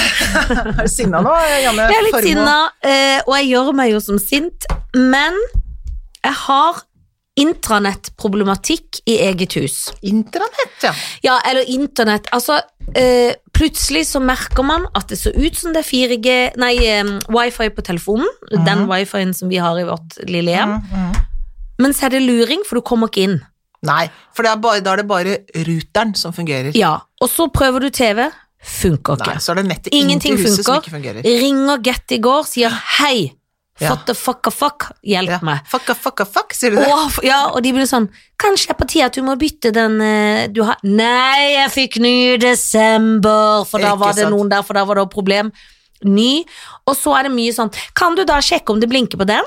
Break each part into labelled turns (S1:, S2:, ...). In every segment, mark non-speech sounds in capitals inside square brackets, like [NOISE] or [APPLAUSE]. S1: Er du sinna
S2: [LAUGHS]
S1: nå, Janne?
S2: Jeg er litt
S1: Formoe?
S2: sinna, eh, og jeg gjør meg jo som sint, men jeg har intranettproblematikk i eget hus.
S1: Intranett, ja.
S2: Ja, eller internett. Altså, eh, plutselig så merker man at det ser ut som det er 4G, nei, eh, wifi på telefonen.
S1: Mhm.
S2: Den wifien som vi har i vårt lille hjem.
S1: Mm, mm.
S2: Men så er det luring, for du kommer ikke inn.
S1: Nei, for det er bare, da er det bare ruteren som fungerer.
S2: Ja, og så prøver du TV. Funker
S1: Nei,
S2: ikke.
S1: så er det nettet
S2: Ingenting
S1: inn til huset som
S2: funker.
S1: ikke fungerer.
S2: Ringer Get i går, sier hei,
S1: Ja.
S2: what the fuck a fuck, hjelp
S1: Ja.
S2: meg.
S1: Fucka, fucka, fuck, sier du det?
S2: Åh, f- ja, og de blir sånn Kanskje det er på tide at du må bytte den eh, du har Nei, jeg fikk ny i desember, for da
S1: Ikke
S2: var det
S1: sant.
S2: noen der, for da var det et problem. Ny. Og så er det mye sånn Kan du da sjekke om det blinker på den?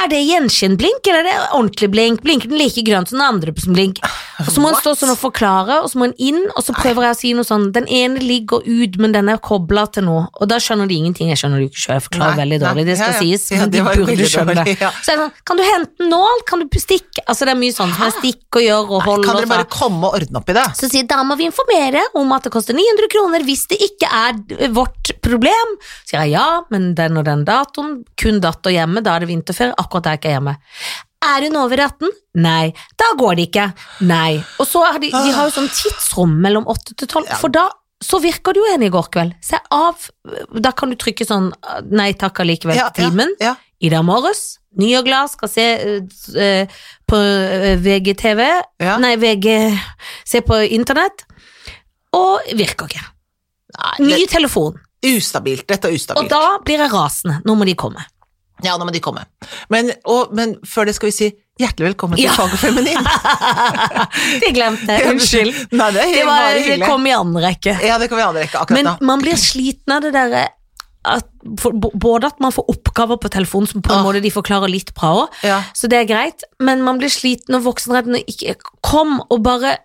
S2: Er det gjenskinnblink, eller er det ordentlig blink? Blinker den like grønt som den andre som blink? Og så må en
S1: What?
S2: stå sånn og forklare, og så må en inn, og så prøver jeg å si noe sånn Den ene ligger ut, men den er kobla til noe, og da skjønner de ingenting. Jeg skjønner det jo ikke sjøl, jeg forklarer
S1: Nei,
S2: veldig
S1: nei.
S2: dårlig, det skal
S1: Ja, ja.
S2: sies,
S1: Ja,
S2: men
S1: det var
S2: de burde
S1: veldig
S2: skjønne det.
S1: dårlig, [LAUGHS] ja.
S2: Så er det sånn, kan du hente en nål? Kan du stikke? Altså det er mye sånn som jeg stikker og gjør og holder.
S1: Kan dere
S2: og så-
S1: bare komme og ordne opp i det?
S2: Så sier jeg, da må vi informere om at det koster 900 kroner hvis det ikke er vårt problem. Så sier jeg ja, men den og den datoen, kun datter hjemme, da er det vinterferie, akkurat da er jeg ikke hjemme. Er hun over 18? Nei. Da går det ikke. Nei. Og så har de, de har jo sånn tidsrom mellom 8 til 12, for da så virker du jo enig i går kveld. Se av, da kan du trykke sånn nei takk allikevel
S1: Ja,
S2: til timen.
S1: Ja, ja.
S2: I dag morges, ny og glad, skal se eh, s- eh, på eh, VGTV,
S1: Ja.
S2: nei VG, se på internett, og virker ikke. Ny
S1: Nei,
S2: telefon,
S1: det er ustabilt. Dette er
S2: og
S1: ustabilt.
S2: da blir jeg rasende, nå må de komme.
S1: [LAUGHS] Ja, nå må de komme. Men, og, men før det skal vi si hjertelig velkommen til
S2: Ja.
S1: Fag
S2: [LAUGHS]
S1: og Feminin.
S2: Det glemte jeg, unnskyld.
S1: Nei, det er
S2: Det,
S1: helt
S2: var,
S1: bare
S2: det
S1: hyggelig.
S2: kom i andre rekke.
S1: Ja, det kan vi avrekke akkurat
S2: Men
S1: da.
S2: man blir sliten av det der, at, for, bo- både at man får oppgaver på telefonen som på en
S1: Ah.
S2: måte de forklarer litt bra også,
S1: Ja.
S2: Så det er greit, men man blir sliten og voksenredd når ikke Kom og bare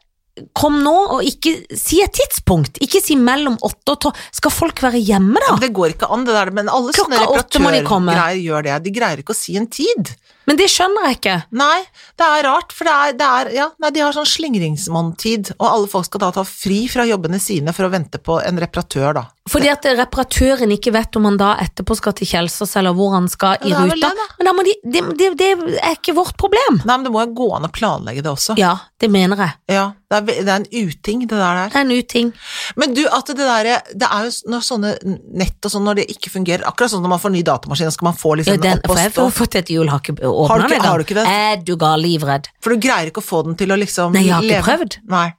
S2: Kom nå, og ikke si et tidspunkt. Ikke si mellom åtte og tolv. Skal folk være hjemme, da?
S1: Det går ikke an, det der. Men alle sånne
S2: Klokka åtte må de komme.
S1: reparatørgreier gjør det. De greier ikke å si en tid.
S2: Men det skjønner jeg ikke.
S1: Nei, det er rart, for det er, det er Ja, nei, de har sånn slingringsmonntid, og alle folk skal da ta fri fra jobbene sine for å vente på en reparatør, da.
S2: Fordi at reparatøren ikke vet om han da etterpå skal til Kjelsås, eller hvor han skal i
S1: Ja, det er vel
S2: ruta.
S1: det, da.
S2: Men da må de, det, det, det er ikke vårt problem.
S1: Nei, men det må jo gå an å planlegge det også.
S2: Ja, det mener jeg.
S1: Ja, det, er, ve- det er en uting, det der der.
S2: Det er en uting.
S1: Men du, at det derre Det er jo s- når sånne nett og sånn, når det ikke fungerer Akkurat sånn når man får ny datamaskin, så skal man få
S2: Ja,
S1: liksom
S2: den,
S1: opp og
S2: for jeg
S1: stå
S2: har fått et hjul, har ikke
S1: Har
S2: åpna
S1: du ikke-
S2: den
S1: har du ikke det?
S2: engang. Er Eh, du gal livredd?
S1: For du greier ikke å få den til å liksom
S2: Nei, jeg har ikke prøvd.
S1: Nei.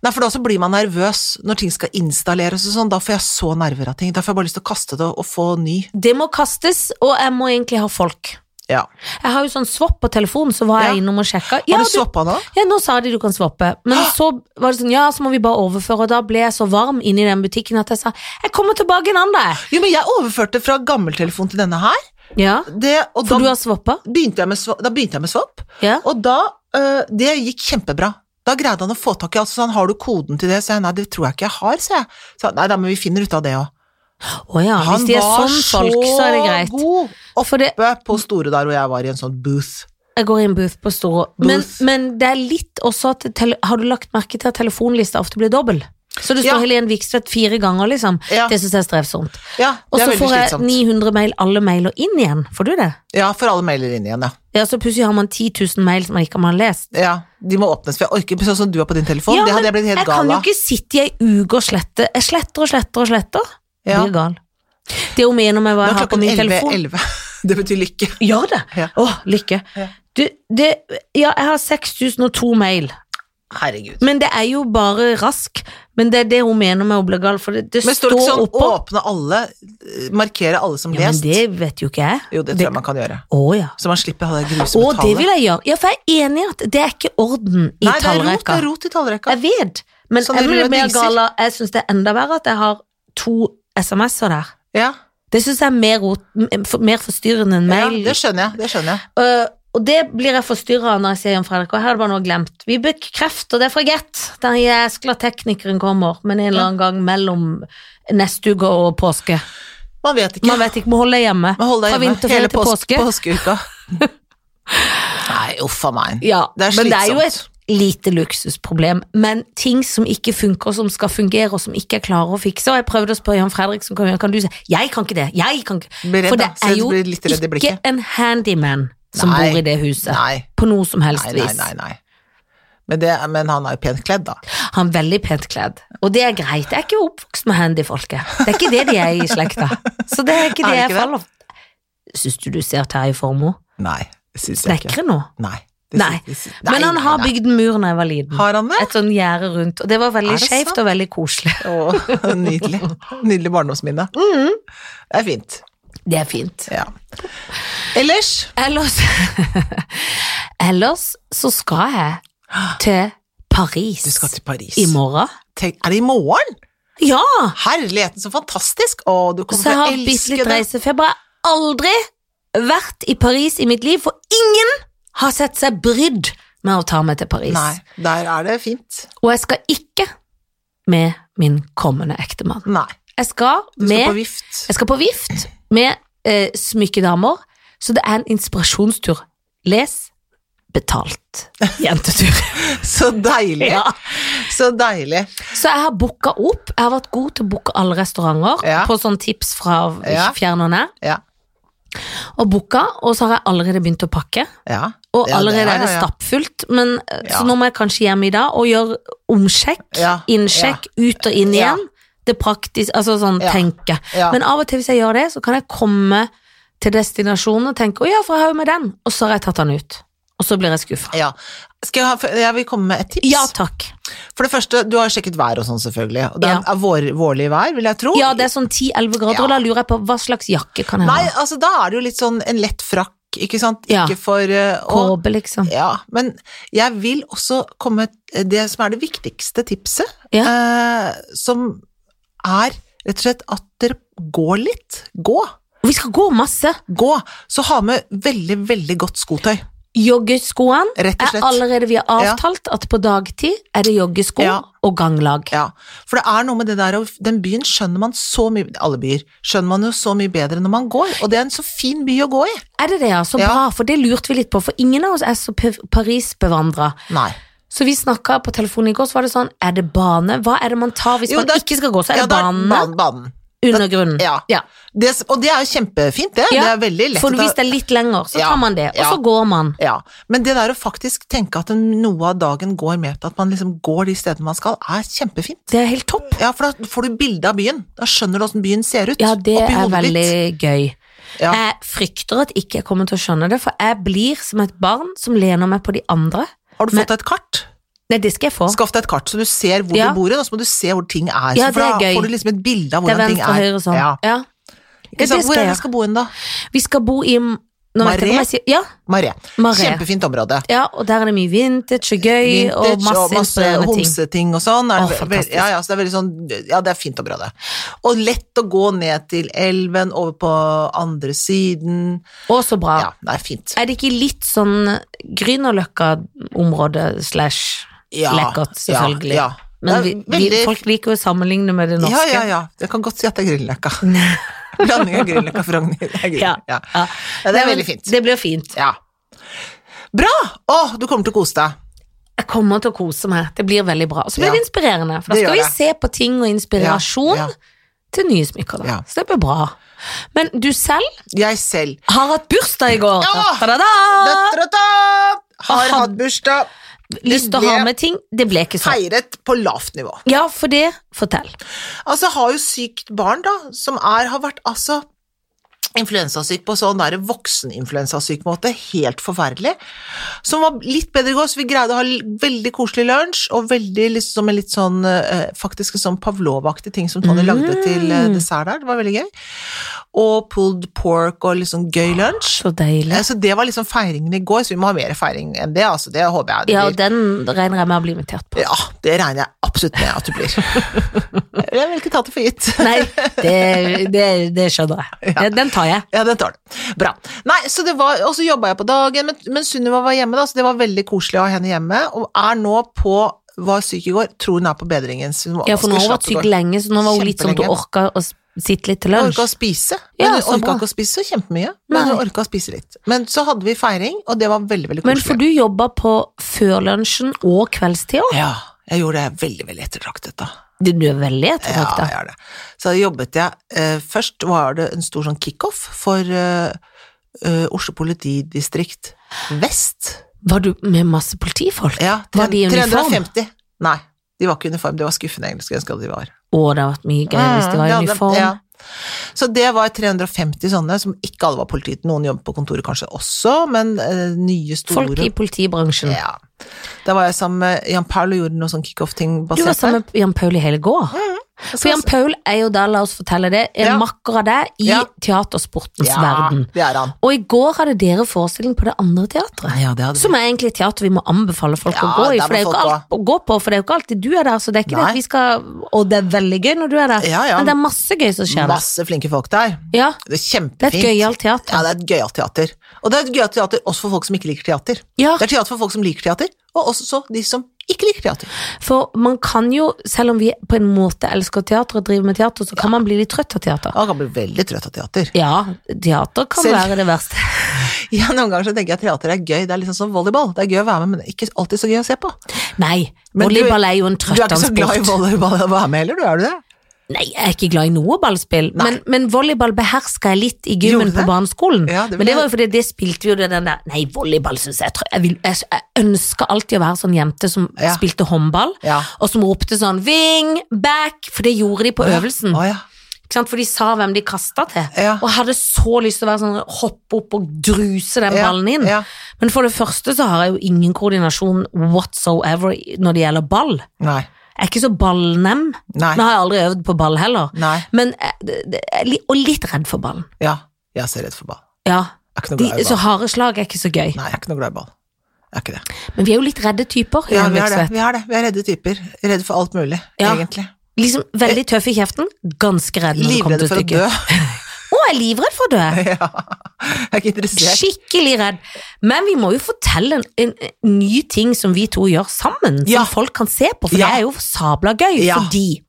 S1: Nei, for da så blir man nervøs når ting skal installeres og sånn. Da får jeg så nerver av ting. Da får jeg bare lyst til å kaste det og få ny.
S2: Det må kastes, og jeg må egentlig ha folk.
S1: Ja.
S2: Jeg har jo sånn swap på telefonen, så var
S1: Ja.
S2: jeg innom og sjekka.
S1: Har
S2: Ja,
S1: du Ah!
S2: du-
S1: swappa nå?
S2: ja, nå sa de du kan swappe, men så var det sånn, ja, så må vi bare overføre, og da ble jeg så varm inne i den butikken at jeg sa, jeg kommer tilbake en annen dag.
S1: Jo, men jeg overførte fra gammeltelefon til denne her.
S2: Ja,
S1: Det, og
S2: for
S1: da,
S2: du har swappa.
S1: begynte jeg med swap, da begynte jeg med swap,
S2: Ja.
S1: og da øh, Det gikk kjempebra. Da greide han å få tak i alt. Så sa han, har du koden til det? Så jeg nei, det tror jeg ikke jeg har, sa jeg. Så, han, nei da, men vi finner ut av det òg.
S2: Å ja, hvis de er sånn folk, så er det greit.
S1: god
S2: For det,
S1: oppe på Store der hvor jeg var i en sånn booth.
S2: jeg går i en booth på Storo, men,
S1: Booth.
S2: men det er litt også at, tele, har du lagt merke til at telefonlista ofte blir dobbelt? Så det står
S1: Ja.
S2: Helen Vikstvedt fire ganger, liksom.
S1: Ja.
S2: Det synes jeg er strevsomt.
S1: Ja,
S2: Og
S1: det
S2: så
S1: er veldig
S2: får jeg
S1: slitsomt.
S2: 900 mail, alle mailer inn igjen. Får du det?
S1: Ja, for alle mailer inn igjen, ja.
S2: Ja, så plutselig har man 10 000 mail som man ikke har lest.
S1: ja. De må åpnes, for jeg orker ikke sånn som du har på din telefon. det hadde jeg blitt helt
S2: jeg kan
S1: gal
S2: jo
S1: av.
S2: ikke sitte i ei uke og slette. Jeg sletter og sletter og sletter.
S1: Ja.
S2: Blir gal. Det er jo mer om jeg
S1: Nå
S2: hva
S1: er
S2: jeg har på
S1: klokken
S2: min
S1: 11,
S2: telefon.
S1: 11. [LAUGHS] Det betyr lykke.
S2: Gjør det!
S1: Ja.
S2: Åh, lykke.
S1: Ja.
S2: Du, det, ja, jeg har 6002 mail,
S1: Herregud.
S2: men det er jo bare rask. Men det er det hun mener med å bli gal, for det, det
S1: Men
S2: står
S1: står det ikke sånn
S2: oppå.
S1: åpne alle, eh, markere alle som
S2: Ja, men
S1: lest?
S2: det vet jo ikke jeg.
S1: Jo, det tror jeg man kan gjøre.
S2: Å ja.
S1: Så man slipper ha det
S2: Å,
S1: grusomme
S2: det
S1: tallet.
S2: vil jeg gjøre. Ja, for jeg er enig i at det er ikke orden i
S1: Nei, det er rot, det
S2: tallrekka.
S1: er rot i tallrekka.
S2: Jeg vet, men
S1: Sånn
S2: jeg
S1: det
S2: blir
S1: røde
S2: mer
S1: lyser.
S2: gal av Jeg syns det er enda verre at jeg har to SMS-er der.
S1: Ja.
S2: Det syns jeg er mer, rot- m- for- mer forstyrrende enn
S1: ja,
S2: mail.
S1: det skjønner jeg. Det skjønner jeg.
S2: Øh, og det blir jeg forstyrra av når jeg sier Jan Fredrik, og her er det bare noe glemt. Vi bekrefter det fra Get, den jæskla teknikeren kommer, men en eller annen gang mellom neste uke og påske.
S1: Man vet ikke.
S2: Man vet ikke, må holde deg hjemme.
S1: Men hold deg
S2: fra
S1: hjemme.
S2: vinterferie
S1: Hele
S2: til
S1: pås-
S2: [LAUGHS] påske.
S1: påskeuka. Nei, uff a meg.
S2: Ja,
S1: Det er
S2: men det er jo et
S1: slitsomt.
S2: lite luksusproblem, men ting som ikke funker, som skal fungere, og som ikke er klare å fikse. Og jeg prøvde å spørre Jan Fredrik, som kan, kan du si Jeg kan ikke det. Jeg kan ikke.
S1: Blir redd,
S2: For det
S1: da.
S2: er
S1: Så
S2: jo
S1: blir litt redd i
S2: ikke
S1: blikket.
S2: en handyman som
S1: Nei.
S2: bor i det huset.
S1: Nei.
S2: På noe som helst
S1: Nei, nei,
S2: vis.
S1: nei. nei. Men, det, men han er jo pent kledd, da.
S2: Han er veldig pent kledd, og det er greit. Jeg er ikke oppvokst med handyfolket. Det er ikke det de er i slekta. Så det er ikke det
S1: Er det
S2: jeg
S1: ikke det?
S2: faller for. Syns du du ser Terje Formoe
S1: Nei, det syns jeg ikke.
S2: snekre nå?
S1: Nei.
S2: Nei. Men han har bygd en mur da jeg var liten.
S1: Har han det?
S2: Et sånn gjerde rundt, og det var veldig
S1: Er det
S2: skeivt
S1: sant?
S2: og veldig koselig.
S1: Å, nydelig. Nydelig barndomsminne. [LAUGHS]
S2: Mm.
S1: Det er fint.
S2: Det er fint.
S1: Ja. Ellers
S2: Ellers [LAUGHS] Ellers så skal jeg til Paris
S1: Du skal til Paris.
S2: i morgen.
S1: Tenk, er det i morgen?
S2: Ja!
S1: Herligheten, så fantastisk! Å, du kommer
S2: Så jeg
S1: til å
S2: har bitte
S1: elske
S2: litt
S1: det.
S2: reisefeber. Jeg har aldri vært i Paris i mitt liv, for ingen har sett seg brydd med å ta meg til Paris.
S1: Nei, der er det fint.
S2: Og jeg skal ikke med min kommende ektemann.
S1: Nei.
S2: Jeg skal
S1: Du skal på
S2: med
S1: vift. [LAUGHS]
S2: Jeg skal på vift med eh, smykkedamer, så det er en inspirasjonstur. Les betalt jentetur.
S1: [LAUGHS] Så deilig.
S2: ja.
S1: Så deilig.
S2: Så jeg har booka opp. Jeg har vært god til å booke alle restauranter
S1: Ja.
S2: på sånn tips fra
S1: Ja.
S2: fjern og nær.
S1: Ja.
S2: Og booka, og så har jeg allerede begynt å pakke.
S1: Ja.
S2: Og
S1: Ja, det-
S2: allerede
S1: ja,
S2: er det
S1: ja, ja.
S2: stappfullt, men, eh,
S1: Ja.
S2: så nå må jeg kanskje hjem i dag og gjøre omsjekk,
S1: Ja,
S2: innsjekk, ut og inn
S1: Ja.
S2: igjen. Det praktiske, altså sånn
S1: Ja.
S2: tenke.
S1: Ja.
S2: Men av og til hvis jeg gjør det, så kan jeg komme til destinasjonen og tenke 'Å ja, for jeg har jo med den', og så har jeg tatt den ut. Og så blir jeg skuffa.
S1: ja. Skal jeg, ha, jeg vil komme med et tips.
S2: Ja takk.
S1: For det første, du har jo sjekket vær og sånn, selvfølgelig. Og det er,
S2: Ja.
S1: er vår, vårlig vær, vil jeg tro.
S2: Ja, det er sånn 10-11 grader,
S1: Ja.
S2: og da lurer jeg på hva slags jakke kan jeg
S1: Nei,
S2: ha?
S1: altså da er det jo litt sånn en lett frakk, ikke sant?
S2: Ja.
S1: Ikke for eh, og-
S2: Kåpe, liksom.
S1: Ja, men jeg vil også komme Det som er det viktigste tipset, eh, som er rett og slett at dere går litt. Gå.
S2: Og Vi skal gå masse.
S1: Gå. Så ha med veldig, veldig godt skotøy.
S2: Joggeskoene
S1: Rett og
S2: er
S1: slett.
S2: allerede Vi har avtalt at på dagtid er det joggesko
S1: Ja.
S2: og ganglag.
S1: Ja, for det er noe med det der, og den byen skjønner man så mye, alle byer, skjønner man jo så mye bedre når man går, og det er en så fin by å gå i.
S2: Er det det, ja? Så
S1: Ja.
S2: bra, for det lurte vi litt på. For ingen av oss er så pe- Paris-bevandra.
S1: Nei.
S2: Så vi snakka på telefonen i går, så var det sånn Er det bane? Hva er det man tar hvis
S1: Jo,
S2: man
S1: det er-
S2: ikke skal gå? Så er
S1: Ja,
S2: det
S1: da er
S2: bane,
S1: banen, banen.
S2: undergrunnen.
S1: Ja. Det, og det er jo kjempefint det, det
S2: Ja,
S1: er veldig lett
S2: For
S1: å ta-
S2: hvis det er litt lenger, så
S1: Ja.
S2: tar man det. Og
S1: Ja.
S2: så går man.
S1: Ja, men det der å faktisk tenke at en- noe av dagen går med til at man liksom går de stedene man skal, er kjempefint.
S2: Det er helt topp.
S1: Ja, for da får du bilde av byen. Da skjønner du åssen byen ser ut.
S2: Mm. Ja, det
S1: oppi
S2: er
S1: hodet ditt.
S2: veldig gøy.
S1: Ja.
S2: Jeg frykter at ikke jeg kommer til å skjønne det, for jeg blir som et barn som lener meg på de andre.
S1: Har du fått deg et kart?
S2: Nei, det skal jeg få.
S1: Skaff deg et kart, så du ser hvor
S2: Ja.
S1: du bor, hen, og så må du se hvor ting er.
S2: Ja,
S1: så for
S2: det er
S1: da
S2: gøy.
S1: får du liksom et bilde av
S2: Det er
S1: hvordan ting
S2: venstre
S1: er.
S2: og høyre sånn.
S1: Ja.
S2: Ja. det
S1: Ikke sant?
S2: skal
S1: Hvor er
S2: jeg.
S1: det skal bo hen, da?
S2: Vi skal bo i nå vet jeg ikke om jeg sier, ja,
S1: Maré.
S2: Marais.
S1: Kjempefint område.
S2: ja, og der er det mye vintage og gøy og
S1: Vintage
S2: masse,
S1: og masse
S2: inspirerende ting.
S1: homseting og sånn. Er
S2: Å,
S1: det ve-
S2: fantastisk.
S1: ja, ja, så det er veldig sånn Ja, det er fint område. Og lett å gå ned til elven, over på andre siden.
S2: Og så bra.
S1: Ja, det er fint.
S2: Er det ikke litt sånn Grünerløkka-område slash
S1: Ja,
S2: lekkert, selvfølgelig?
S1: ja, ja.
S2: Men vi,
S1: Det er
S2: vi,
S1: veldig-
S2: folk liker jo å sammenligne med det norske.
S1: Ja, ja, ja. Jeg kan godt si at det
S2: [LAUGHS]
S1: er Grünerløkka. Blanding av Grünerløkka og Frogner. Det er Grünerløkka.
S2: Ja,
S1: Ja.
S2: ja.
S1: Ja, det
S2: Nei,
S1: er
S2: men
S1: veldig fint.
S2: Det blir jo fint.
S1: Ja. Bra! Å, du kommer til å kose deg.
S2: Jeg kommer til å kose meg. Det blir veldig bra. Og så blir
S1: Ja.
S2: det inspirerende, for da
S1: Det
S2: skal
S1: gjør
S2: vi
S1: det.
S2: se på ting og inspirasjon
S1: Ja, ja.
S2: til nye smykker. Da.
S1: Ja.
S2: Så det blir bra. Men du selv
S1: Jeg selv.
S2: har hatt bursdag i går.
S1: Ja!
S2: Ta-da-da!
S1: Da-da-da! Har
S2: Aha.
S1: hatt bursdag.
S2: Lyst til å
S1: Det
S2: ha
S1: ble
S2: med ting. Det ble ikke sånn.
S1: Feiret på lavt nivå.
S2: Ja, for det Fortell.
S1: Altså, jeg har jo sykt barn, da, som er, har vært altså Influensasyk på sånn der vokseninfluensasyk måte, helt forferdelig. Som var litt bedre i går, så vi greide å ha l- veldig koselig lunsj, og veldig liksom en litt sånn eh, faktisk en sånn Pavlov-aktig ting som Tony lagde til eh, dessert der, det var veldig gøy. Og pulled pork og liksom gøy lunsj.
S2: Så deilig.
S1: Eh, Så det var liksom feiringen i går, så vi må ha mer feiring enn det, altså. Det håper jeg det
S2: Ja,
S1: blir.
S2: og den regner jeg med å bli invitert på.
S1: Ja, det regner jeg absolutt med at du blir. Jeg vil ikke ta det for gitt.
S2: Nei, det, det, det skjønner jeg. Den- Den tar jeg.
S1: Ja, den tar du. Bra. Nei, så det var, og så jobba jeg på dagen, men, men Sunniva var hjemme, da, så det var veldig koselig å ha henne hjemme. Og er nå på Var syk i går, tror hun er på bedringen. så hun må-
S2: Ja, for nå har hun
S1: skulle
S2: vært
S1: slappe
S2: syk
S1: i går.
S2: lenge, så nå var hun litt sånn at hun
S1: Kjempelenge.
S2: orka å s- Sitte litt til
S1: Jeg
S2: lunsj.
S1: orka å spise.
S2: Ja,
S1: Men jeg
S2: så
S1: orka
S2: bra.
S1: ikke å spise så kjempemye, men jeg
S2: Nei.
S1: orka å spise litt. Men så hadde vi feiring, og det var veldig, veldig
S2: Men
S1: koselig.
S2: for du jobba på før lunsjen og kveldstida?
S1: Ja, jeg gjorde det veldig, veldig ettertraktet da.
S2: Du du er veldig
S1: Ja,
S2: ettertrakta.
S1: jeg gjør det. Så jobbet jeg eh, Først var det en stor sånn kickoff for eh, eh, Oslo politidistrikt vest.
S2: Var du med masse politifolk?
S1: Ja,
S2: Var de i uniform?
S1: 350. Nei, de var ikke i uniform. Det var skuffende engelske ønsker de var.
S2: Å, det har vært mye gøy hvis de
S1: Mm,
S2: var i
S1: hadde-
S2: uniform.
S1: ja. Så det var 350 sånne, som ikke alle var politiet. Noen jobbet på kontoret kanskje også, men eh, nye store
S2: Folk i politibransjen.
S1: Ja. Da var jeg sammen med Jan Paul og gjorde noe sånn kickoff-ting
S2: Du
S1: basert
S2: var sammen med Jan Paul i hele går.
S1: der.
S2: For Jan Paul er jo da, la oss fortelle det, en
S1: Ja.
S2: makker av deg i
S1: Ja.
S2: teatersportens
S1: Ja,
S2: verden.
S1: det er han.
S2: Og i går hadde dere forestilling på det andre teatret.
S1: Ja, det hadde vi.
S2: Som er egentlig et teater vi må anbefale folk
S1: Ja,
S2: å gå i,
S1: der må
S2: for det er jo ikke
S1: folk
S2: alt å gå på, for det er jo ikke alltid du er der, så det er ikke det
S1: Nei.
S2: at vi skal Og det er veldig gøy når du er der,
S1: Ja, ja.
S2: men det er masse gøy som skjer der.
S1: Masse flinke folk der.
S2: Ja,
S1: Det er
S2: det er
S1: kjempefint.
S2: et gøyalt teater.
S1: Ja, det er et gøyalt teater. Og det er et gøyalt teater også for folk som ikke liker teater.
S2: Ja,
S1: Det er teater for folk som liker teater, og også så de som ikke liker teater.
S2: for man kan jo, selv om vi på en måte elsker teater og driver med teater, så kan man bli litt trøtt av teater.
S1: Man kan bli veldig trøtt av teater. [LAUGHS]
S2: Ja, teater kan
S1: Selv-
S2: være det
S1: [LAUGHS]
S2: verste.
S1: Ja, Noen ganger så tenker jeg at teater er gøy. Det er liksom som volleyball. Det er gøy å være med, men det er ikke alltid så gøy å se på.
S2: Nei,
S1: Men du-
S2: volleyball er jo en
S1: Du er ikke så glad i
S2: trøttansport.
S1: volleyball å være med heller, du er du det?
S2: Nei, jeg er ikke glad i noe ballspill,
S1: Nei.
S2: men, men volleyball beherska jeg litt i gymmen
S1: Gjorde
S2: på
S1: det?
S2: barneskolen.
S1: Ja, det
S2: men det
S1: ble-
S2: var jo fordi det spilte vi jo det den der Nei, volleyball syns jeg er trø- jeg, vil- jeg, jeg ønsker alltid å være sånn jente som
S1: Ja.
S2: spilte håndball,
S1: Ja.
S2: og som ropte sånn wing, back, for det gjorde de på øvelsen.
S1: Å ja.
S2: Ikke sant? For de sa hvem de kasta til.
S1: Ja.
S2: Og jeg hadde så lyst til å være sånn hoppe opp og druse den
S1: Ja,
S2: ballen inn.
S1: ja.
S2: Men for det første så har jeg jo ingen koordinasjon whatsoever når det gjelder ball.
S1: Nei.
S2: Jeg er ikke så ballnem.
S1: Nei.
S2: Nå har jeg aldri øvd på ball heller.
S1: Nei.
S2: Men, eh, det- det- jeg li- og litt redd for ballen.
S1: Ja. Jeg er så redd for ball.
S2: Ja.
S1: Jeg er ikke noe
S2: De,
S1: glad i
S2: så
S1: ball.
S2: harde slag er ikke så gøy.
S1: Nei, jeg er ikke noe glad i ball. Jeg er ikke det.
S2: Men vi er jo litt redde typer.
S1: Ja,
S2: Jan
S1: vi er det.
S2: Vikstvedt.
S1: Vi er, det. Vi er redde typer. Redde for alt mulig,
S2: Ja.
S1: egentlig.
S2: Liksom Veldig tøff i kjeften, ganske redd når det kommer
S1: Livredde
S2: til
S1: for å
S2: stykket.
S1: dø. [LAUGHS]
S2: Å, jeg er livredd for å dø!
S1: ja. Jeg er ikke interessert.
S2: Skikkelig redd. Men vi må jo fortelle en, en, en ny ting som vi to gjør sammen, som
S1: Ja.
S2: folk kan se på, for
S1: Ja.
S2: det er jo sabla gøy,
S1: Ja.
S2: fordi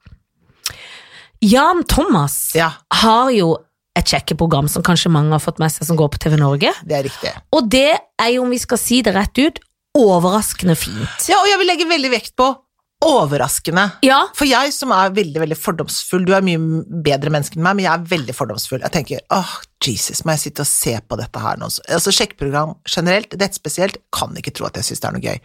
S2: Jan Thomas
S1: Ja,
S2: har jo et sjekkeprogram som kanskje mange har fått med seg, som går på TV Norge,
S1: det er riktig.
S2: og det er jo, om vi skal si det rett ut, overraskende fint.
S1: Ja, og jeg vil legge veldig vekt på overraskende.
S2: Ja,
S1: For jeg som er veldig veldig fordomsfull, du er mye bedre menneske enn meg, men jeg er veldig fordomsfull. Jeg tenker åh, Jesus, må jeg sitte og se på dette her nå? Altså Sjekkeprogram generelt, dette spesielt, kan ikke tro at jeg syns det er noe gøy.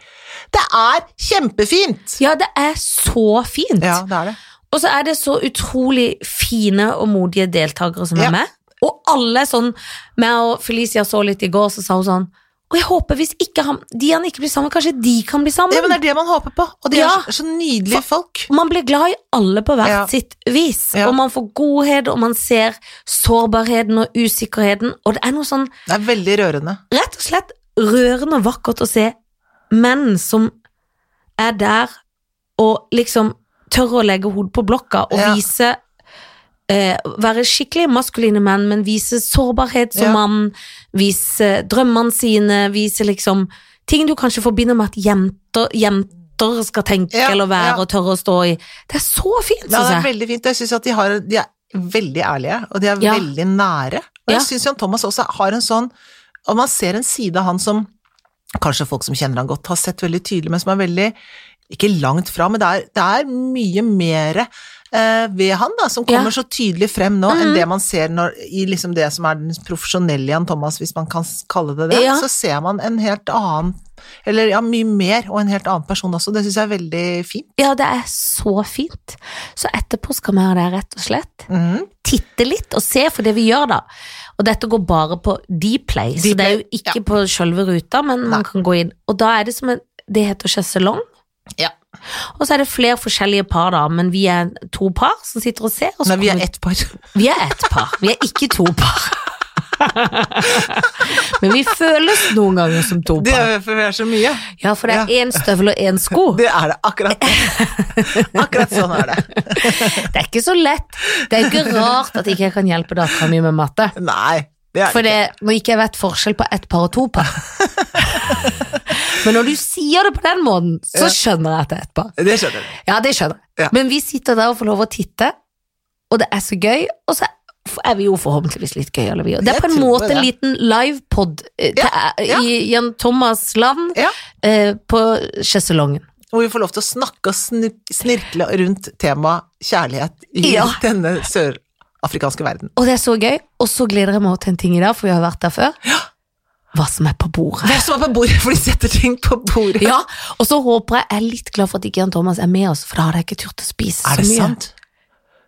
S1: Det er kjempefint!
S2: ja det er så fint.
S1: Ja, det er det.
S2: Og så er det så utrolig fine og modige deltakere som
S1: Ja.
S2: er med. Og alle er sånn Meg og Felicia så litt i går, så sa hun sånn Og jeg håper hvis ikke han, de han ikke blir sammen, kanskje de kan bli sammen.
S1: Ja, men det er det man håper på, og de
S2: Ja.
S1: er så, så nydelige folk.
S2: Man blir glad i alle på hvert
S1: Ja.
S2: sitt vis.
S1: Ja.
S2: Og man får godhet, og man ser sårbarheten og usikkerheten. Og det er noe sånn
S1: Det er veldig rørende.
S2: rett og slett rørende og vakkert å se menn som er der og liksom tør å legge hodet på blokka og
S1: Ja.
S2: vise eh, Være skikkelig maskuline menn, men vise sårbarhet som
S1: Ja.
S2: mann, vise drømmene sine, vise liksom ting du kanskje forbinder med at jenter, jenter skal tenke
S1: Ja,
S2: eller være
S1: ja.
S2: og tørre å stå i. Det er så fint,
S1: Ja,
S2: syns
S1: det er
S2: jeg.
S1: veldig fint. Jeg synes at de, har, de er veldig ærlige, og de er
S2: Ja.
S1: veldig nære. Og
S2: Ja.
S1: jeg synes Jan Thomas også har en sånn Og man ser en side av han som kanskje folk som kjenner han godt, har sett veldig tydelig, men som er veldig Ikke langt fra, men det er, det er mye mere eh, ved han, da, som
S2: Ja. Mhm.
S1: kommer så tydelig frem nå, enn det man ser når, i liksom det som er den profesjonelle Jan Thomas, hvis man kan s- kalle det det.
S2: Ja.
S1: Så ser man en helt annen Eller ja, mye mer, og en helt annen person også. Det syns jeg er veldig fint.
S2: Ja, det er så fint. Så etterpå skal vi ha det, rett og slett.
S1: Mhm.
S2: titte litt og se for det vi gjør da. Og dette går bare på Dplay, så det er jo ikke på selve ruta, men man kan gå inn. Og da er det som en, det heter sjeselong.
S1: Ja.
S2: Og så er det flere forskjellige par da, men vi er to par som sitter og ser. Og så
S1: Nei, vi
S2: kommer-
S1: er ett par.
S2: vi er ett par, vi er ikke to
S1: [LAUGHS]
S2: par. men vi føles noen ganger som to
S1: Det
S2: par.
S1: er for vi er så mye.
S2: Ja, for det er én støvel og én sko.
S1: Det er det, akkurat. [LAUGHS] Akkurat sånn er det.
S2: Det er ikke så lett. Det er jo ikke rart at ikke jeg kan hjelpe dattera mi med matte.
S1: Nei, det er
S2: For
S1: det ikke.
S2: det, når ikke jeg vet forskjell på ett par og to
S1: [LAUGHS]
S2: par. Men når du sier det på den måten, så skjønner jeg at det er ett par.
S1: Det skjønner du.
S2: Ja, det skjønner jeg.
S1: Ja.
S2: Men vi sitter der og får lov å titte, og det er så gøy, og så er vi jo forhåpentligvis litt gøyere, vi. Og det er
S1: Jeg
S2: på en
S1: tror
S2: måte en
S1: det.
S2: liten livepod eh,
S1: Ja,
S2: til-
S1: ja.
S2: i Jan Thomas Land
S1: Ja.
S2: eh, på sjeselongen.
S1: Hvor vi får lov til å snakke og snu- snirkle rundt temaet kjærlighet i
S2: Ja.
S1: denne sørafrikanske verden.
S2: Og det er så gøy, og så gleder jeg meg også til en ting i dag, for vi har vært der før. Hva som er på bordet.
S1: Hvem som er på bordet, for de setter ting på bordet.
S2: Ja, og så håper jeg jeg er litt glad for at ikke Jan Thomas er med oss, for da hadde jeg ikke turt å spise så
S1: Er det
S2: mye.
S1: sant?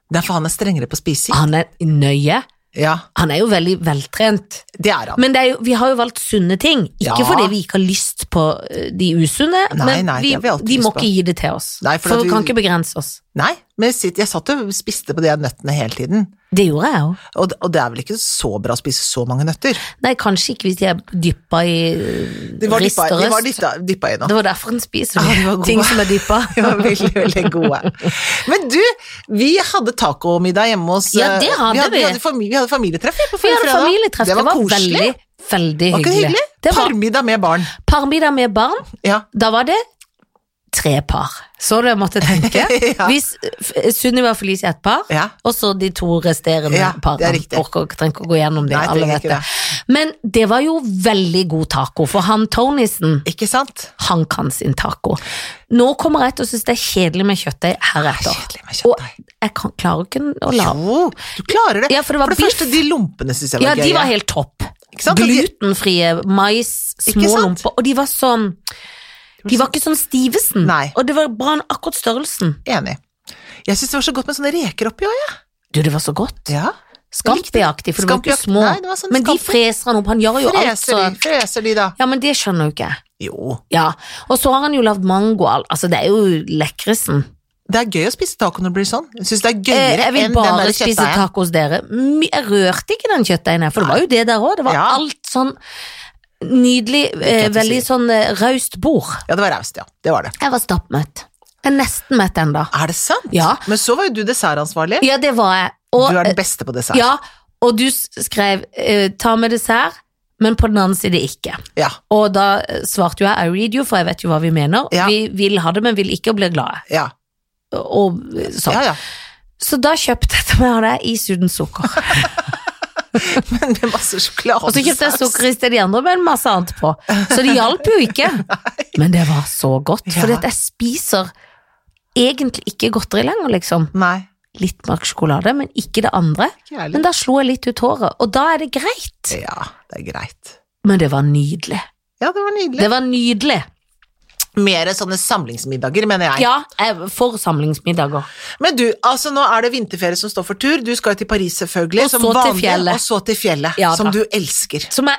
S1: Det er for han er strengere på spising.
S2: Han er nøye.
S1: Ja,
S2: Han er jo veldig veltrent.
S1: det er han.
S2: Men det er jo, vi har jo valgt sunne ting. Ikke
S1: Ja.
S2: fordi vi ikke har lyst på eh, de usunne,
S1: Nei,
S2: men
S1: nei,
S2: vi,
S1: det har vi alltid
S2: de må
S1: lyst på.
S2: ikke gi det til oss.
S1: Nei, for
S2: for
S1: at
S2: vi
S1: vi-
S2: kan ikke begrense oss.
S1: Nei, men jeg sitter- jeg satt og spiste på de nøttene hele tiden.
S2: Det gjorde jeg òg.
S1: Og, og det er vel ikke så bra å spise så mange nøtter?
S2: Nei, kanskje ikke hvis de er dyppa i eh,
S1: De var
S2: rist
S1: dyppa,
S2: og
S1: de var
S2: røst.
S1: dyppa, dyppa i nå.
S2: Det var derfor en spiser
S1: Ja, de var
S2: de
S1: gode.
S2: ting som er
S1: [LAUGHS]
S2: dyppa.
S1: De var veldig, veldig gode. Men du, vi hadde tacomiddag hjemme hos
S2: Ja, det
S1: eh,
S2: hadde
S1: vi. Hadde,
S2: vi.
S1: vi, hadde famili- vi hadde familietreff
S2: Vi
S1: på forrige
S2: hadde
S1: fredag.
S2: familietreff. Det var,
S1: koselig.
S2: veldig, veldig
S1: Var ikke det hyggelig?
S2: Det var
S1: Parmiddag med barn.
S2: parmiddag med barn.
S1: Ja.
S2: Da var det tre par. Så du jeg måtte tenke?
S1: [LAUGHS] Ja.
S2: Hvis eh, Sunniva og Felice er et par,
S1: Ja.
S2: og så de to resterende
S1: Ja, det er
S2: parene.
S1: riktig.
S2: Orker, ikke- trenger ikke å gå gjennom det,
S1: Nei,
S2: alle
S1: trenger
S2: vet
S1: ikke
S2: det. Men det var jo veldig god taco, for han Tonisen,
S1: Ikke sant?
S2: han kan sin taco. Nå kommer jeg til å synes det er kjedelig med kjøttdeig
S1: Det
S2: heretter.
S1: er kjedelig med
S2: Og
S1: kjøttdeig.
S2: jeg kan, klarer ikke å la
S1: Jo, du klarer det.
S2: Ja, for det var biff.
S1: første, de lompene syns jeg var
S2: Ja, de
S1: gøye.
S2: var helt topp.
S1: Ikke sant? Og de-
S2: Glutenfrie, mais,
S1: Ikke
S2: små
S1: sant?
S2: lomper, og de var sånn de var ikke sånn Stivesen,
S1: Nei.
S2: og det var bra akkurat størrelsen.
S1: Enig. Jeg syns det var så godt med sånne reker oppi òg, jeg.
S2: Du, det var så godt.
S1: Ja.
S2: Scampi-aktig, for det var ikke
S1: Scampi-aktig.
S2: små.
S1: Nei, det var sånn
S2: men de
S1: scampi.
S2: freser han opp, han gjør jo alt
S1: Freser
S2: så
S1: de, freser de, da?
S2: Ja, men det skjønner jo ikke jeg.
S1: Jo.
S2: Ja, og så har han jo lagd mango, al- altså det er jo lekresen.
S1: Det er gøy å spise taco når det blir sånn. Jeg syns det er
S2: Eh,
S1: gøyere
S2: Jeg vil
S1: enn den
S2: bare
S1: der
S2: spise
S1: kjøttdeigen.
S2: taco hos dere. My- Jeg rørte ikke den kjøttdeigen her, for det var jo det der òg. Det var
S1: Ja.
S2: alt sånn nydelig, eh,
S1: godt å
S2: veldig sånn eh, raust bord.
S1: Ja, det var raust, ja. Det var det.
S2: Jeg var stappmett. Jeg er nesten mett ennå.
S1: Er det sant?
S2: Ja.
S1: Men så var jo du dessertansvarlig.
S2: Ja, det var jeg. Og,
S1: Du er den beste på dessert.
S2: ja, og du s- skrev eh, 'ta med dessert', men på den annen side ikke.
S1: Ja,
S2: Og da eh, svarte jo jeg 'I read you', for jeg vet jo hva vi mener.
S1: Ja.
S2: Vi vil ha det, men vil ikke bli glade.
S1: ja,
S2: Og, eh, sånn.
S1: ja, [LAUGHS] ja.
S2: Så da kjøpte jeg til meg av det is uten
S1: [LAUGHS]
S2: sukker.
S1: Men med masse sjokolade.
S2: Og så kjøpte jeg sukker i stedet de andre med en masse annet på. Så det hjalp jo ikke.
S1: [LAUGHS]
S2: Men det var så godt,
S1: Ja.
S2: for jeg spiser egentlig ikke godteri lenger, liksom.
S1: Nei,
S2: Litt mørk sjokolade, men ikke det andre.
S1: ikke jeg
S2: Men
S1: heller.
S2: da slo jeg litt ut håret, og da er det greit.
S1: Ja, det er greit.
S2: Men det var nydelig.
S1: Ja, det var nydelig.
S2: Det var nydelig.
S1: Mer sånne samlingsmiddager, mener jeg.
S2: Ja, jeg- for samlingsmiddager.
S1: Men du, altså nå er det vinterferie som står for tur. Du skal jo til Paris, selvfølgelig.
S2: Og
S1: som
S2: så til
S1: vanlig,
S2: fjellet.
S1: Og så til fjellet,
S2: Ja,
S1: som
S2: da.
S1: du elsker.
S2: Som jeg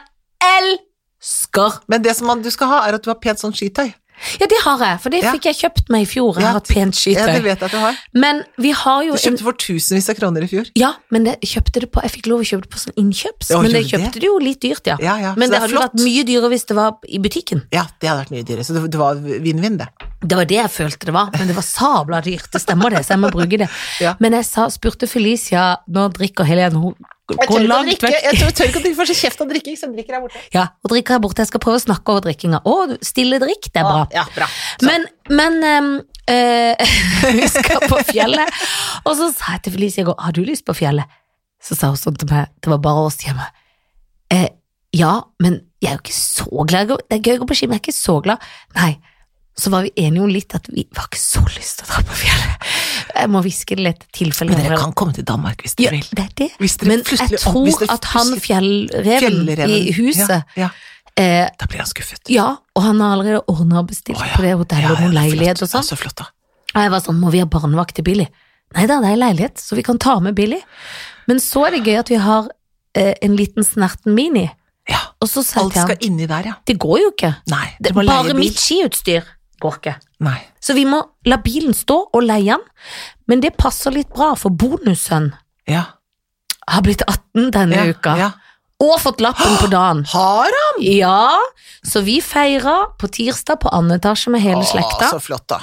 S2: elsker.
S1: Men det som man, du skal ha, er at du har pent sånn skitøy.
S2: Ja, det har jeg, for det
S1: Ja.
S2: fikk jeg kjøpt meg i fjor. Jeg
S1: Ja,
S2: har et pent
S1: Ja, det
S2: skitøy.
S1: vet jeg at du har.
S2: Men vi har jo
S1: Du
S2: en
S1: kjøpte for tusenvis av kroner i fjor.
S2: Ja, men jeg kjøpte det på Jeg fikk lov å kjøpe det på sånn innkjøps,
S1: Ja,
S2: men jeg
S1: gjorde
S2: kjøpte det jo litt dyrt, ja.
S1: Ja, ja. så
S2: Men det
S1: er
S2: hadde jo
S1: flott.
S2: vært mye dyrere hvis det var i butikken.
S1: Ja, det hadde vært mye dyrere, så det, det var vinn-vinn, det.
S2: Det var det jeg følte det var, men det var sabla dyrt, det stemmer det, så jeg må bruke det.
S1: Ja.
S2: Men jeg sa, spurte Felicia, nå drikker Helene, hun går langt vekk.
S1: Jeg tør ikke at du får så kjeft av drikking, så jeg drikker her borte.
S2: Ja, og drikker her borte, jeg skal prøve å snakke over drikkinga. Å, du- stille drikk, det er bra.
S1: Ja, bra.
S2: Men, men ehm, eh, [LAUGHS] vi skal på fjellet. Og så sa jeg til Felicia i går, har du lyst på fjellet? Så sa hun sånn til meg, det var bare oss hjemme. Eh, ja, men jeg er jo ikke så glad. Det er gøy å gå på ski, men jeg er ikke så glad. Nei, så var vi enige om litt at vi var ikke så lyst til å dra på fjellet. Jeg må hviske det litt, tilfelle.
S1: Men dere kan komme til Danmark hvis
S2: ja,
S1: dere vil.
S2: det er det.
S1: Hvis dere
S2: Men jeg
S1: plutselig-
S2: tror
S1: hvis dere
S2: at han
S1: plutselig-
S2: fjellreven, i huset,
S1: Ja, ja.
S2: eh,
S1: Da blir han skuffet.
S2: ja, og han har allerede ordna og bestilt
S1: Å, ja.
S2: på det hotellet
S1: Ja,
S2: og
S1: ja,
S2: noen
S1: det er
S2: leilighet
S1: flott.
S2: og sånn.
S1: Det er Så flott, da.
S2: Og jeg var sånn, må vi ha barnevakt til Billy? Nei da, det er leilighet, så vi kan ta med Billy. Men så er det gøy at vi har eh, en liten snerten mini.
S1: Ja.
S2: Og så sa jeg
S1: Alt
S2: til
S1: skal
S2: han,
S1: inni der, ja.
S2: det går jo ikke.
S1: Nei,
S2: Det,
S1: du må leie
S2: bare
S1: bil.
S2: mitt skiutstyr går ikke.
S1: Nei.
S2: Så vi må la bilen stå og leie den. Men det passer litt bra, for bonussønn
S1: Ja.
S2: har blitt 18 denne
S1: ja.
S2: uka.
S1: Ja.
S2: Og fått lappen på
S1: [GASPS]
S2: dagen.
S1: Har han?
S2: Ja, så vi feira på tirsdag på andre etasje med hele slekta.
S1: Å, så flott, da.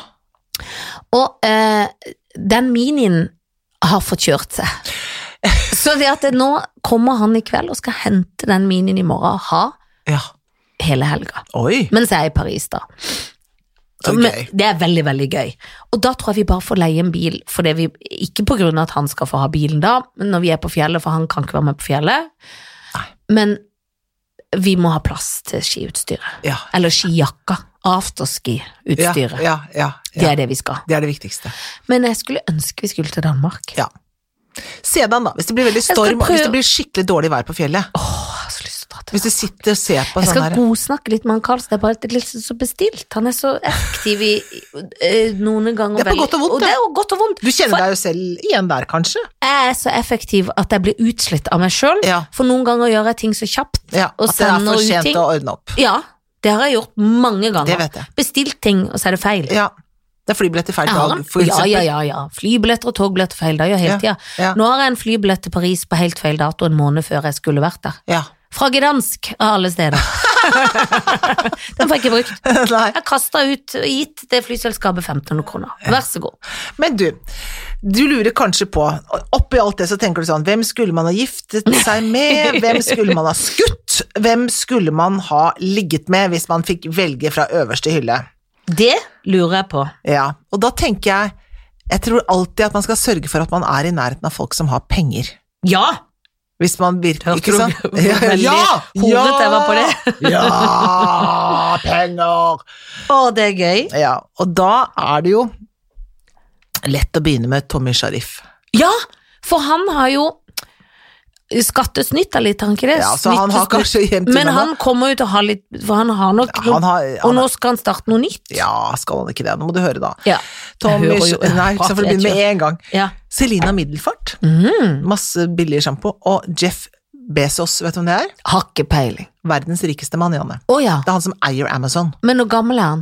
S2: Og eh, den minien har fått kjørt seg.
S1: [LAUGHS]
S2: Så det at det, nå kommer han i kveld og skal hente den minien i morgen og ha
S1: Ja.
S2: hele helga.
S1: Oi.
S2: Mens jeg er i Paris, da.
S1: Ok.
S2: Men det er veldig, veldig gøy. Og da tror jeg vi bare får leie en bil, fordi vi, ikke på grunn av at han skal få ha bilen da, men når vi er på fjellet, for han kan ikke være med på fjellet. Men vi må ha plass til skiutstyret.
S1: Ja.
S2: Eller skijakka. Afterski-utstyret.
S1: Ja, ja, ja,
S2: Det
S1: ja.
S2: er det vi skal.
S1: Det er det viktigste.
S2: Men jeg skulle ønske vi skulle til Danmark.
S1: Ja. Sedan, da. Hvis det blir veldig
S2: skal
S1: storm, og hvis
S2: prøve-
S1: det blir skikkelig dårlig vær på fjellet.
S2: Åh, jeg har så lyst til å dra til
S1: Hvis du sitter og ser på
S2: Jeg
S1: sånn
S2: skal
S1: her
S2: godsnakke litt med han Karlsen, det er bare litt så bestilt. Han er så effektiv i eh, noen ganger.
S1: Det er på
S2: veldig-
S1: godt og vondt,
S2: og det.
S1: det.
S2: Er jo godt og vondt.
S1: Du kjenner deg jo selv igjen der, kanskje?
S2: Jeg er så effektiv at jeg blir utslitt av meg sjøl,
S1: Ja.
S2: for noen ganger gjør jeg ting så kjapt.
S1: Ja,
S2: Og
S1: at det er
S2: sender
S1: for
S2: ut
S1: sent
S2: ting.
S1: å ordne opp.
S2: Ja, det har jeg gjort mange ganger.
S1: Det vet jeg.
S2: Bestilt ting, og så er det feil.
S1: Ja. Det er flybillett til feil
S2: Jeg har
S1: dag,
S2: en,
S1: for
S2: ja,
S1: eksempel.
S2: ja, ja, ja. Flybilletter og togbilletter feil, det gjør jeg hele
S1: Ja,
S2: tida.
S1: ja.
S2: Nå har jeg en flybillett til Paris på helt feil dato en måned før jeg skulle vært der.
S1: ja. [LAUGHS]
S2: Fra Gdansk, av alle steder. Den får jeg ikke brukt.
S1: Nei.
S2: Jeg kasta ut og gitt det flyselskapet 1500 kroner. Vær så god.
S1: Men du, du lurer kanskje på, oppi alt det så tenker du sånn, hvem skulle man ha giftet seg med, hvem skulle man ha skutt, hvem skulle man ha ligget med hvis man fikk velge fra øverste hylle?
S2: Det lurer jeg på.
S1: Ja, og da tenker jeg, jeg tror alltid at man skal sørge for at man er i nærheten av folk som har penger.
S2: Ja!
S1: Hvis man virker,
S2: Hørte
S1: ikke
S2: du
S1: sant? [LAUGHS]
S2: hvor veldig hodet jeg var på det?
S1: ja, penger!
S2: [LAUGHS] Å, det er gøy.
S1: Ja, og da er det jo lett å begynne med Tommy Sharif.
S2: Ja, for han har jo skattesnytta litt, har han ikke det?
S1: Ja, så han har kanskje
S2: Snyttesnytt.
S1: gjemt
S2: Men
S1: unna
S2: han kommer jo til å ha litt For han har nok
S1: Ja, han har- han
S2: Og nå
S1: har-
S2: skal han starte noe nytt.
S1: Ja, skal han ikke det? Nå må du høre, da.
S2: Ja.
S1: Tommy
S2: Jeg hører jo-
S1: Sh- Nei,
S2: [LAUGHS]
S1: ikke sant, for å begynne med en gang.
S2: Ja.
S1: Selina Middelfart.
S2: Mm.
S1: Masse billig sjampo. Og Jeff Bezos, vet du hvem det er?
S2: Har ikke peiling.
S1: Verdens rikeste mann, Janne.
S2: Å ja.
S1: Det er han som eier Amazon.
S2: Men hvor gammel er han?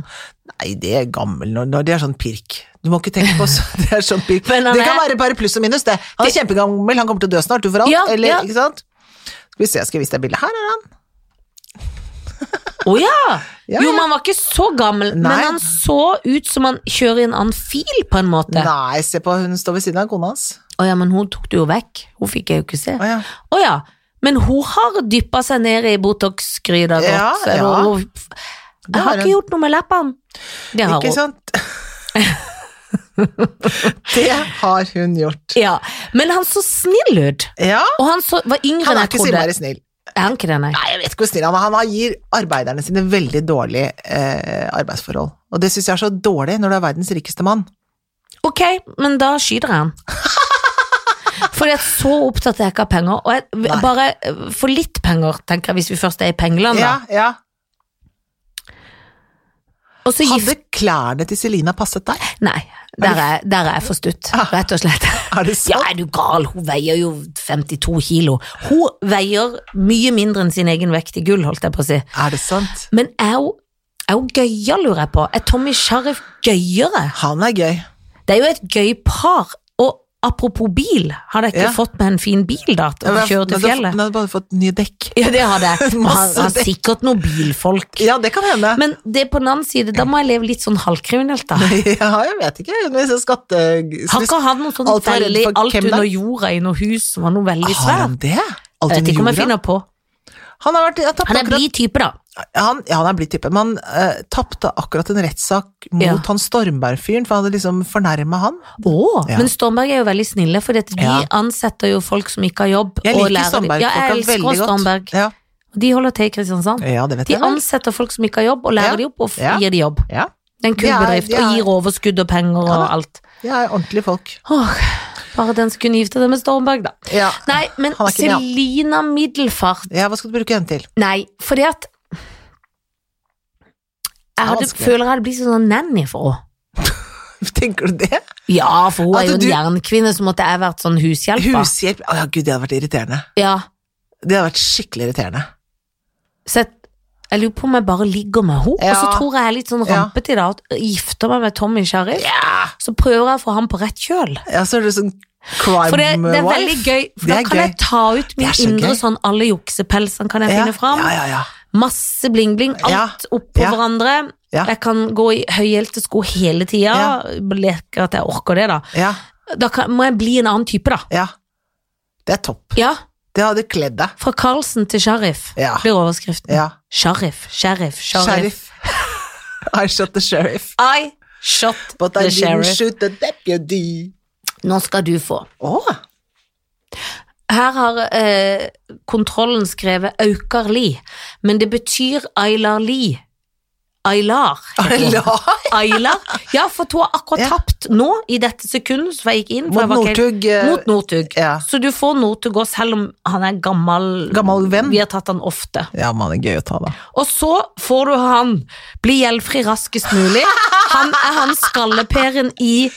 S1: Nei, det er gammel når, når det er sånn pirk. Du må ikke tenke på så, [LAUGHS] det er sånn pirk.
S2: Men han
S1: det kan
S2: er-
S1: være bare pluss og minus, det. Han er kjempegammel, han kommer til å dø snart, du for alt.
S2: Ja,
S1: eller,
S2: ja.
S1: ikke sant? Skal vi se, skal jeg vise deg bildet. Her er han.
S2: Å ja! Jo,
S1: Ja, ja.
S2: men han var ikke så gammel,
S1: Nei.
S2: men han så ut som han kjører i en annen fil, på en måte.
S1: Nei, se på, hun står ved siden av kona hans.
S2: Å ja, men hun tok det jo vekk. Hun fikk jeg jo ikke se.
S1: Å ja.
S2: Å ja. Men hun har dyppa seg ned i Botox-gryta godt.
S1: Ja,
S2: så
S1: ja.
S2: hun-
S1: Det
S2: Jeg har
S1: har
S2: ikke
S1: hun.
S2: gjort noe med leppene. Det har
S1: Ikke
S2: hun.
S1: sant? [LAUGHS] det har hun gjort.
S2: Ja. Men han så snill ut.
S1: Ja,
S2: Og han så, var yngre
S1: han
S2: enn
S1: er
S2: jeg
S1: ikke så
S2: trodde.
S1: innmari snill.
S2: Er han ikke det, nei?
S1: Nei, jeg vet ikke hvor snill han er. Han har- gir arbeiderne sine veldig dårlige eh, arbeidsforhold. Og det syns jeg er så dårlig når du er verdens rikeste mann.
S2: Ok, men da skyter
S1: [LAUGHS]
S2: jeg han. Fordi at så opptatt er jeg ikke av penger. Og jeg,
S1: Nei.
S2: bare eh, for litt penger, tenker jeg, hvis vi først er i pengeland, da.
S1: Ja, ja.
S2: Og så gift...
S1: Hadde klærne til Selina passet deg?
S2: Nei, der er, der er jeg for stutt, rett og slett.
S1: Er det
S2: Ah. [LAUGHS] Ja,
S1: sant?
S2: er du gal? Hun veier jo 52 kilo. Hun veier mye mindre enn sin egen vekt i gull, holdt jeg på å si.
S1: Er det sant?
S2: Men er hun, er hun gøya, lurer jeg på? Er Tommy Sheriff gøyere?
S1: Han er gøy.
S2: Det er jo et gøy par. Og apropos bil, hadde jeg ikke
S1: Ja.
S2: fått meg en fin bil da, til å kjøre til
S1: Hun
S2: fjellet?
S1: hadde bare fått nye dekk.
S2: Ja, det hadde [LAUGHS] jeg. Han
S1: Masse
S2: har
S1: dekk.
S2: sikkert noen bilfolk.
S1: Ja, det kan hende.
S2: Men det på den annen side, da må jeg leve litt sånn halvkriminelt, da.
S1: [LAUGHS] ja, jeg vet ikke. Hun er så skatte...
S2: Har ikke han noe sånn
S1: Alt var redd
S2: veldig
S1: for
S2: alt
S1: hvem da?
S2: under jorda i noe hus som var noe veldig
S1: Har
S2: svært?
S1: han det? Alt
S2: Jeg vet
S1: under
S2: ikke om jeg
S1: jorda?
S2: finner på.
S1: Han har vært jeg tapte
S2: Han er
S1: akkurat,
S2: blid type, da.
S1: han, ja, han er blitt type, men han eh, tapte akkurat en rettssak mot
S2: Ja.
S1: han Stormberg-fyren, for han hadde liksom fornærma han.
S2: Å,
S1: Ja.
S2: Men Stormberg er jo veldig snille, for de
S1: Ja.
S2: ansetter jo folk som ikke har jobb.
S1: Jeg
S2: og
S1: liker
S2: lærer-
S1: Stormberg-folka
S2: Ja, jeg
S1: veldig
S2: elsker
S1: godt.
S2: Stormberg.
S1: Ja.
S2: De holder til i Kristiansand.
S1: ja, det vet
S2: De
S1: jeg vel.
S2: ansetter folk som ikke har jobb, og lærer
S1: Ja.
S2: de opp og f-
S1: Ja.
S2: gir de jobb.
S1: Ja,
S2: Det er en kul
S1: De er-
S2: bedrift,
S1: de
S2: og
S1: er-
S2: gir overskudd og penger og
S1: da.
S2: alt.
S1: de er ordentlige folk.
S2: Åh, bare den som kunne gifte seg med Stormberg, da.
S1: Ja.
S2: Nei, men
S1: Han er ikke med,
S2: Selina Middelfart
S1: ja, hva skal du bruke henne til? [LAUGHS]
S2: Nei, fordi at Jeg hadde,
S1: vanskelig.
S2: føler jeg hadde blitt sånn nanny for henne.
S1: Tenker du det?
S2: Ja, for hun
S1: At
S2: er jo en
S1: du-
S2: jernkvinne, så måtte jeg vært sånn hushjelper.
S1: Hushjelp? Å ja, gud, det hadde vært irriterende.
S2: Ja,
S1: Det hadde vært skikkelig irriterende.
S2: så jeg, jeg lurer på om jeg bare ligger med henne. Og så
S1: Ja.
S2: tror jeg jeg er litt sånn
S1: Ja.
S2: rampete i dag. At jeg gifter meg med Tommy Sheriff.
S1: Ja!
S2: Så prøver jeg å få ham på rett kjøl.
S1: Ja, så er det sånn crime
S2: For det, det er
S1: wife.
S2: veldig gøy. For
S1: Det
S2: da
S1: er
S2: kan
S1: gøy.
S2: jeg ta ut
S1: Det
S2: min
S1: er så
S2: indre
S1: gøy.
S2: sånn alle juksepelsene kan jeg
S1: ja.
S2: finne fram.
S1: Ja, ja, ja.
S2: Masse bling-bling, alt oppå
S1: Ja.
S2: hverandre.
S1: Ja.
S2: Jeg kan gå i høyhælte sko hele tida.
S1: Ja.
S2: Leker at jeg orker det, da.
S1: ja,
S2: Da kan, må jeg bli en annen type, da.
S1: ja. Det er topp.
S2: Ja,
S1: Det hadde kledd deg.
S2: Fra Carlsen til Sheriff
S1: Ja.
S2: blir overskriften.
S1: Ja.
S2: Sheriff, sheriff, sheriff.
S1: Sheriff. [LAUGHS] I shot the sheriff.
S2: I shot
S1: But I
S2: the
S1: didn't
S2: sheriff.
S1: shoot the deputy.
S2: Nå skal du få.
S1: Å,
S2: Her har eh, kontrollen skrevet Aukar Li, men det betyr Aylar Li. Aylar. heter hun.
S1: Lai!
S2: Aylar. Ja, for hun har akkurat
S1: Ja.
S2: tapt nå, i dette sekundet, for jeg gikk inn. For
S1: Mot
S2: jeg var ikke helt-
S1: Northug. eh,
S2: Mot Northug.
S1: Ja.
S2: Så du får Northug òg, selv om han er gammel.
S1: Gammel venn.
S2: Vi har tatt han ofte.
S1: Ja, men det er gøy å ta, da.
S2: Og så får du han bli gjeldfri raskest
S1: [LAUGHS]
S2: mulig. Han er han skalleperen i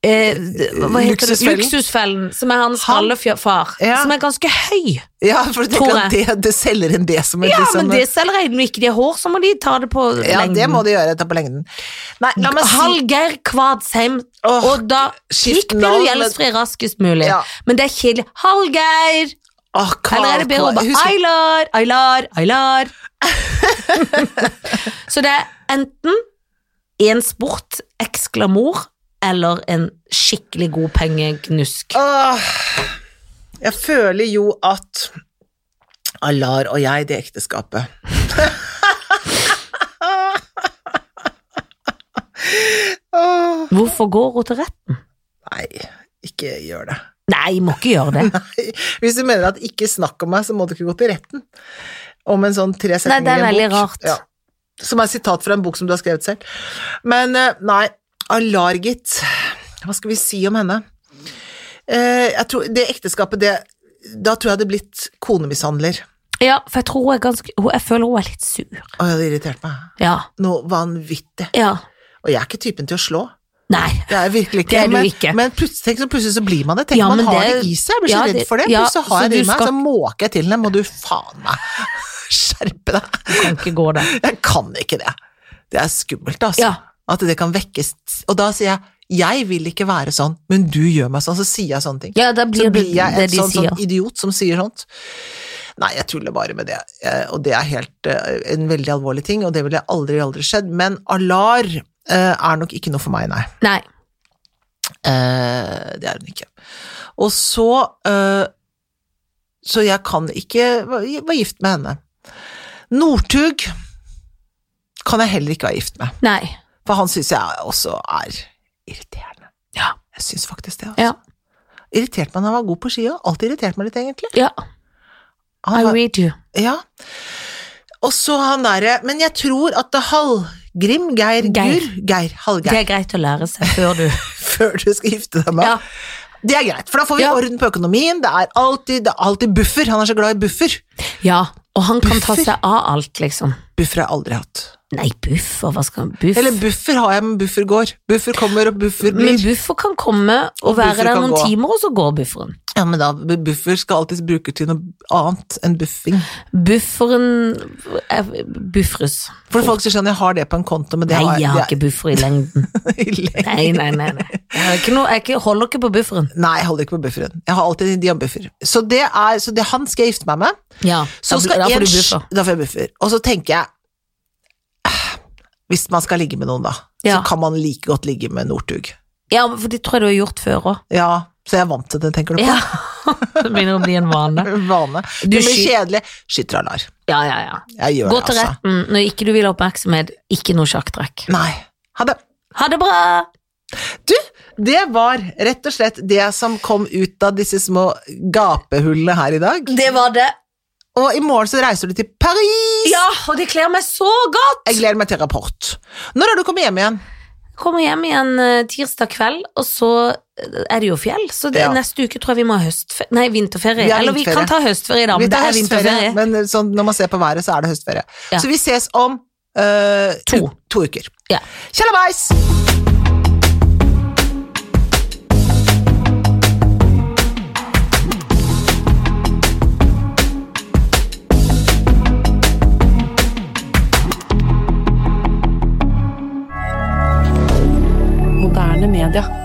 S2: eh, hva heter det?
S1: Luksusfellen.
S2: Luksusfellen, som er hans skallefar.
S1: Ja.
S2: Som er ganske høy.
S1: Ja, for du tenker
S2: Tror
S1: at det, det selger inn det som et
S2: Ja,
S1: liksom
S2: men det selger jeg. Når ikke de har hår, så må de ta det på
S1: Ja,
S2: lengden.
S1: det må du gjøre etter på lengden. Nei, la meg si
S2: Hallgeir Kvadsheim,
S1: Åh,
S2: og da
S1: skift
S2: fikk du
S1: navn,
S2: gjeldsfri raskest mulig.
S1: Ja.
S2: Men det er kjedelig. Hallgeir!
S1: Åh, hva-
S2: Eller er det bedre å
S1: hva-
S2: bare
S1: husk-
S2: Aylar, Aylar,
S1: [LAUGHS]
S2: Aylar? Så det er enten en sport, eksklamor, eller en skikkelig god pengegnusk.
S1: Åh, Jeg føler jo at Alar og jeg, det ekteskapet Åh,
S2: Hvorfor går hun til retten?
S1: Nei, ikke gjør det. [LAUGHS]
S2: Nei, må ikke gjøre det.
S1: Hvis du mener at ikke snakk om meg, så må du ikke gå til retten. Om en sånn tre
S2: Nei, det
S1: setninger
S2: er
S1: i
S2: veldig
S1: en bok.
S2: rart.
S1: Ja. Som er sitat fra en bok som du har skrevet selv. Men eh, nei, Alargit Hva skal vi si om henne? Eh, jeg tror, det ekteskapet, det Da tror jeg det hadde blitt konemishandler.
S2: Ja, for jeg tror hun er ganske hun- Jeg føler hun er litt sur.
S1: Å, det hadde irritert meg.
S2: Ja.
S1: Noe vanvittig.
S2: ja.
S1: Og jeg er ikke typen til å slå.
S2: Nei.
S1: Det er jeg virkelig ikke.
S2: Det er du
S1: men,
S2: ikke.
S1: men plutselig, tenk, så plutselig så blir man det. Tenk
S2: Ja,
S1: man
S2: men
S1: har det,
S2: det-
S1: i seg. Jeg blir så
S2: ja,
S1: redd
S2: det-
S1: for det.
S2: ja,
S1: plutselig har
S2: så
S1: jeg det
S2: du
S1: i meg,
S2: skal-
S1: så måker jeg til den. Må du faen meg [LAUGHS] skjerpe deg.
S2: Kan ikke gå det.
S1: [LAUGHS] Jeg kan ikke det. Det er skummelt, altså.
S2: Ja.
S1: At det kan vekkes. Og da sier jeg jeg vil ikke være sånn, men du gjør meg sånn. Så sier jeg sånne ting.
S2: Ja, da
S1: Så
S2: blir det
S1: blir jeg
S2: det
S1: en
S2: de
S1: sånn,
S2: sier.
S1: sånn idiot som sier sånt. Nei, jeg tuller bare med det, Eh, og det er helt, eh, en veldig alvorlig ting, og det ville aldri, aldri skjedd. Men alar eh, er nok ikke noe for meg, nei.
S2: Nei.
S1: Eh, det er hun ikke. Og så eh, Så jeg kan ikke være være gift med henne. Northug kan jeg heller ikke være gift med,
S2: Nei.
S1: for han syns jeg også er irriterende.
S2: Ja.
S1: Jeg syns faktisk det. Altså.
S2: Ja.
S1: Irritert meg når han var god på ski òg. Alltid irritert meg litt, egentlig.
S2: ja. I
S1: Han var,
S2: read you.
S1: ja. Og så han derre Men jeg tror at det Hallgrim Geir
S2: Geir.
S1: Gur Geir
S2: Det
S1: Hallgeir.
S2: er greit å lære seg før du
S1: Før du skal gifte deg med
S2: Ja.
S1: Det er greit, for da får vi
S2: Ja.
S1: orden på økonomien. Det er alltid, det er alltid buffer. Han er så glad i buffer.
S2: [LAUGHS] Ja, og han kan ta
S1: Buffer.
S2: seg av alt, liksom.
S1: Buffer har jeg aldri hatt.
S2: Nei, buffer, hva skal han Buff?
S1: Eller buffer har jeg, men buffer går. Buffer kommer, og buffer
S2: Men
S1: blir.
S2: buffer kan komme og,
S1: Og buffer
S2: være der
S1: kan
S2: noen
S1: gå.
S2: timer, og så går bufferen.
S1: Ja, men da, buffer skal alltid brukes til noe annet enn buffing.
S2: Bufferen er- buffres.
S1: For folk som skjønner, jeg har det på en konto, men det
S2: Nei,
S1: har
S2: jeg har
S1: det
S2: ikke buffer i lengden.
S1: er- i [LAUGHS] lengden.
S2: Nei, nei, nei. nei. Jeg, har ikke noe, jeg ikke- holder ikke på bufferen.
S1: Nei, jeg holder ikke på bufferen. Jeg har alltid en diambuffer. Så det er, så det han skal jeg gifte meg med.
S2: Ja,
S1: Så
S2: da,
S1: skal
S2: da
S1: en
S2: får du
S1: sj-
S2: buffer.
S1: Da får jeg buffer. Og så tenker jeg eh, Hvis man skal ligge med noen, da,
S2: Ja.
S1: så kan man like godt ligge med Northug.
S2: Ja, for det tror jeg du har gjort før òg.
S1: Ja, så jeg er vant til det, tenker du på?
S2: Ja. [LAUGHS] Det begynner å bli en vane.
S1: Vane.
S2: Du
S1: det blir
S2: sky-
S1: kjedelig. Skyter alarm.
S2: Ja, ja, ja.
S1: Jeg gjør
S2: Gå
S1: det,
S2: til
S1: altså.
S2: retten når ikke du vil ha oppmerksomhet. Ikke noe sjakktrekk.
S1: Nei. Ha det.
S2: Ha det bra!
S1: Du, det var rett og slett det som kom ut av disse små gapehullene her i dag.
S2: Det var det.
S1: Og i morgen så reiser du til Paris!
S2: Ja, og det kler meg så godt!
S1: Jeg gleder meg til rapport. Når har du kommet hjem igjen?
S2: Kommer hjem igjen eh, tirsdag kveld, og så eh, er det jo fjell. Så det,
S1: Ja.
S2: neste uke tror jeg vi må ha høstferie. Nei, vinterferie.
S1: Vi har
S2: Eller vi
S1: vinterferie.
S2: kan ta høstferie i dag,
S1: Vi
S2: men det
S1: tar
S2: er vinterferie.
S1: høstferie, men sånn, når man ser på været, så er det høstferie.
S2: Ja.
S1: Så vi ses om eh,
S2: To.
S1: u- to uker.
S2: Ja.
S1: Tjallabais!
S3: moderne media.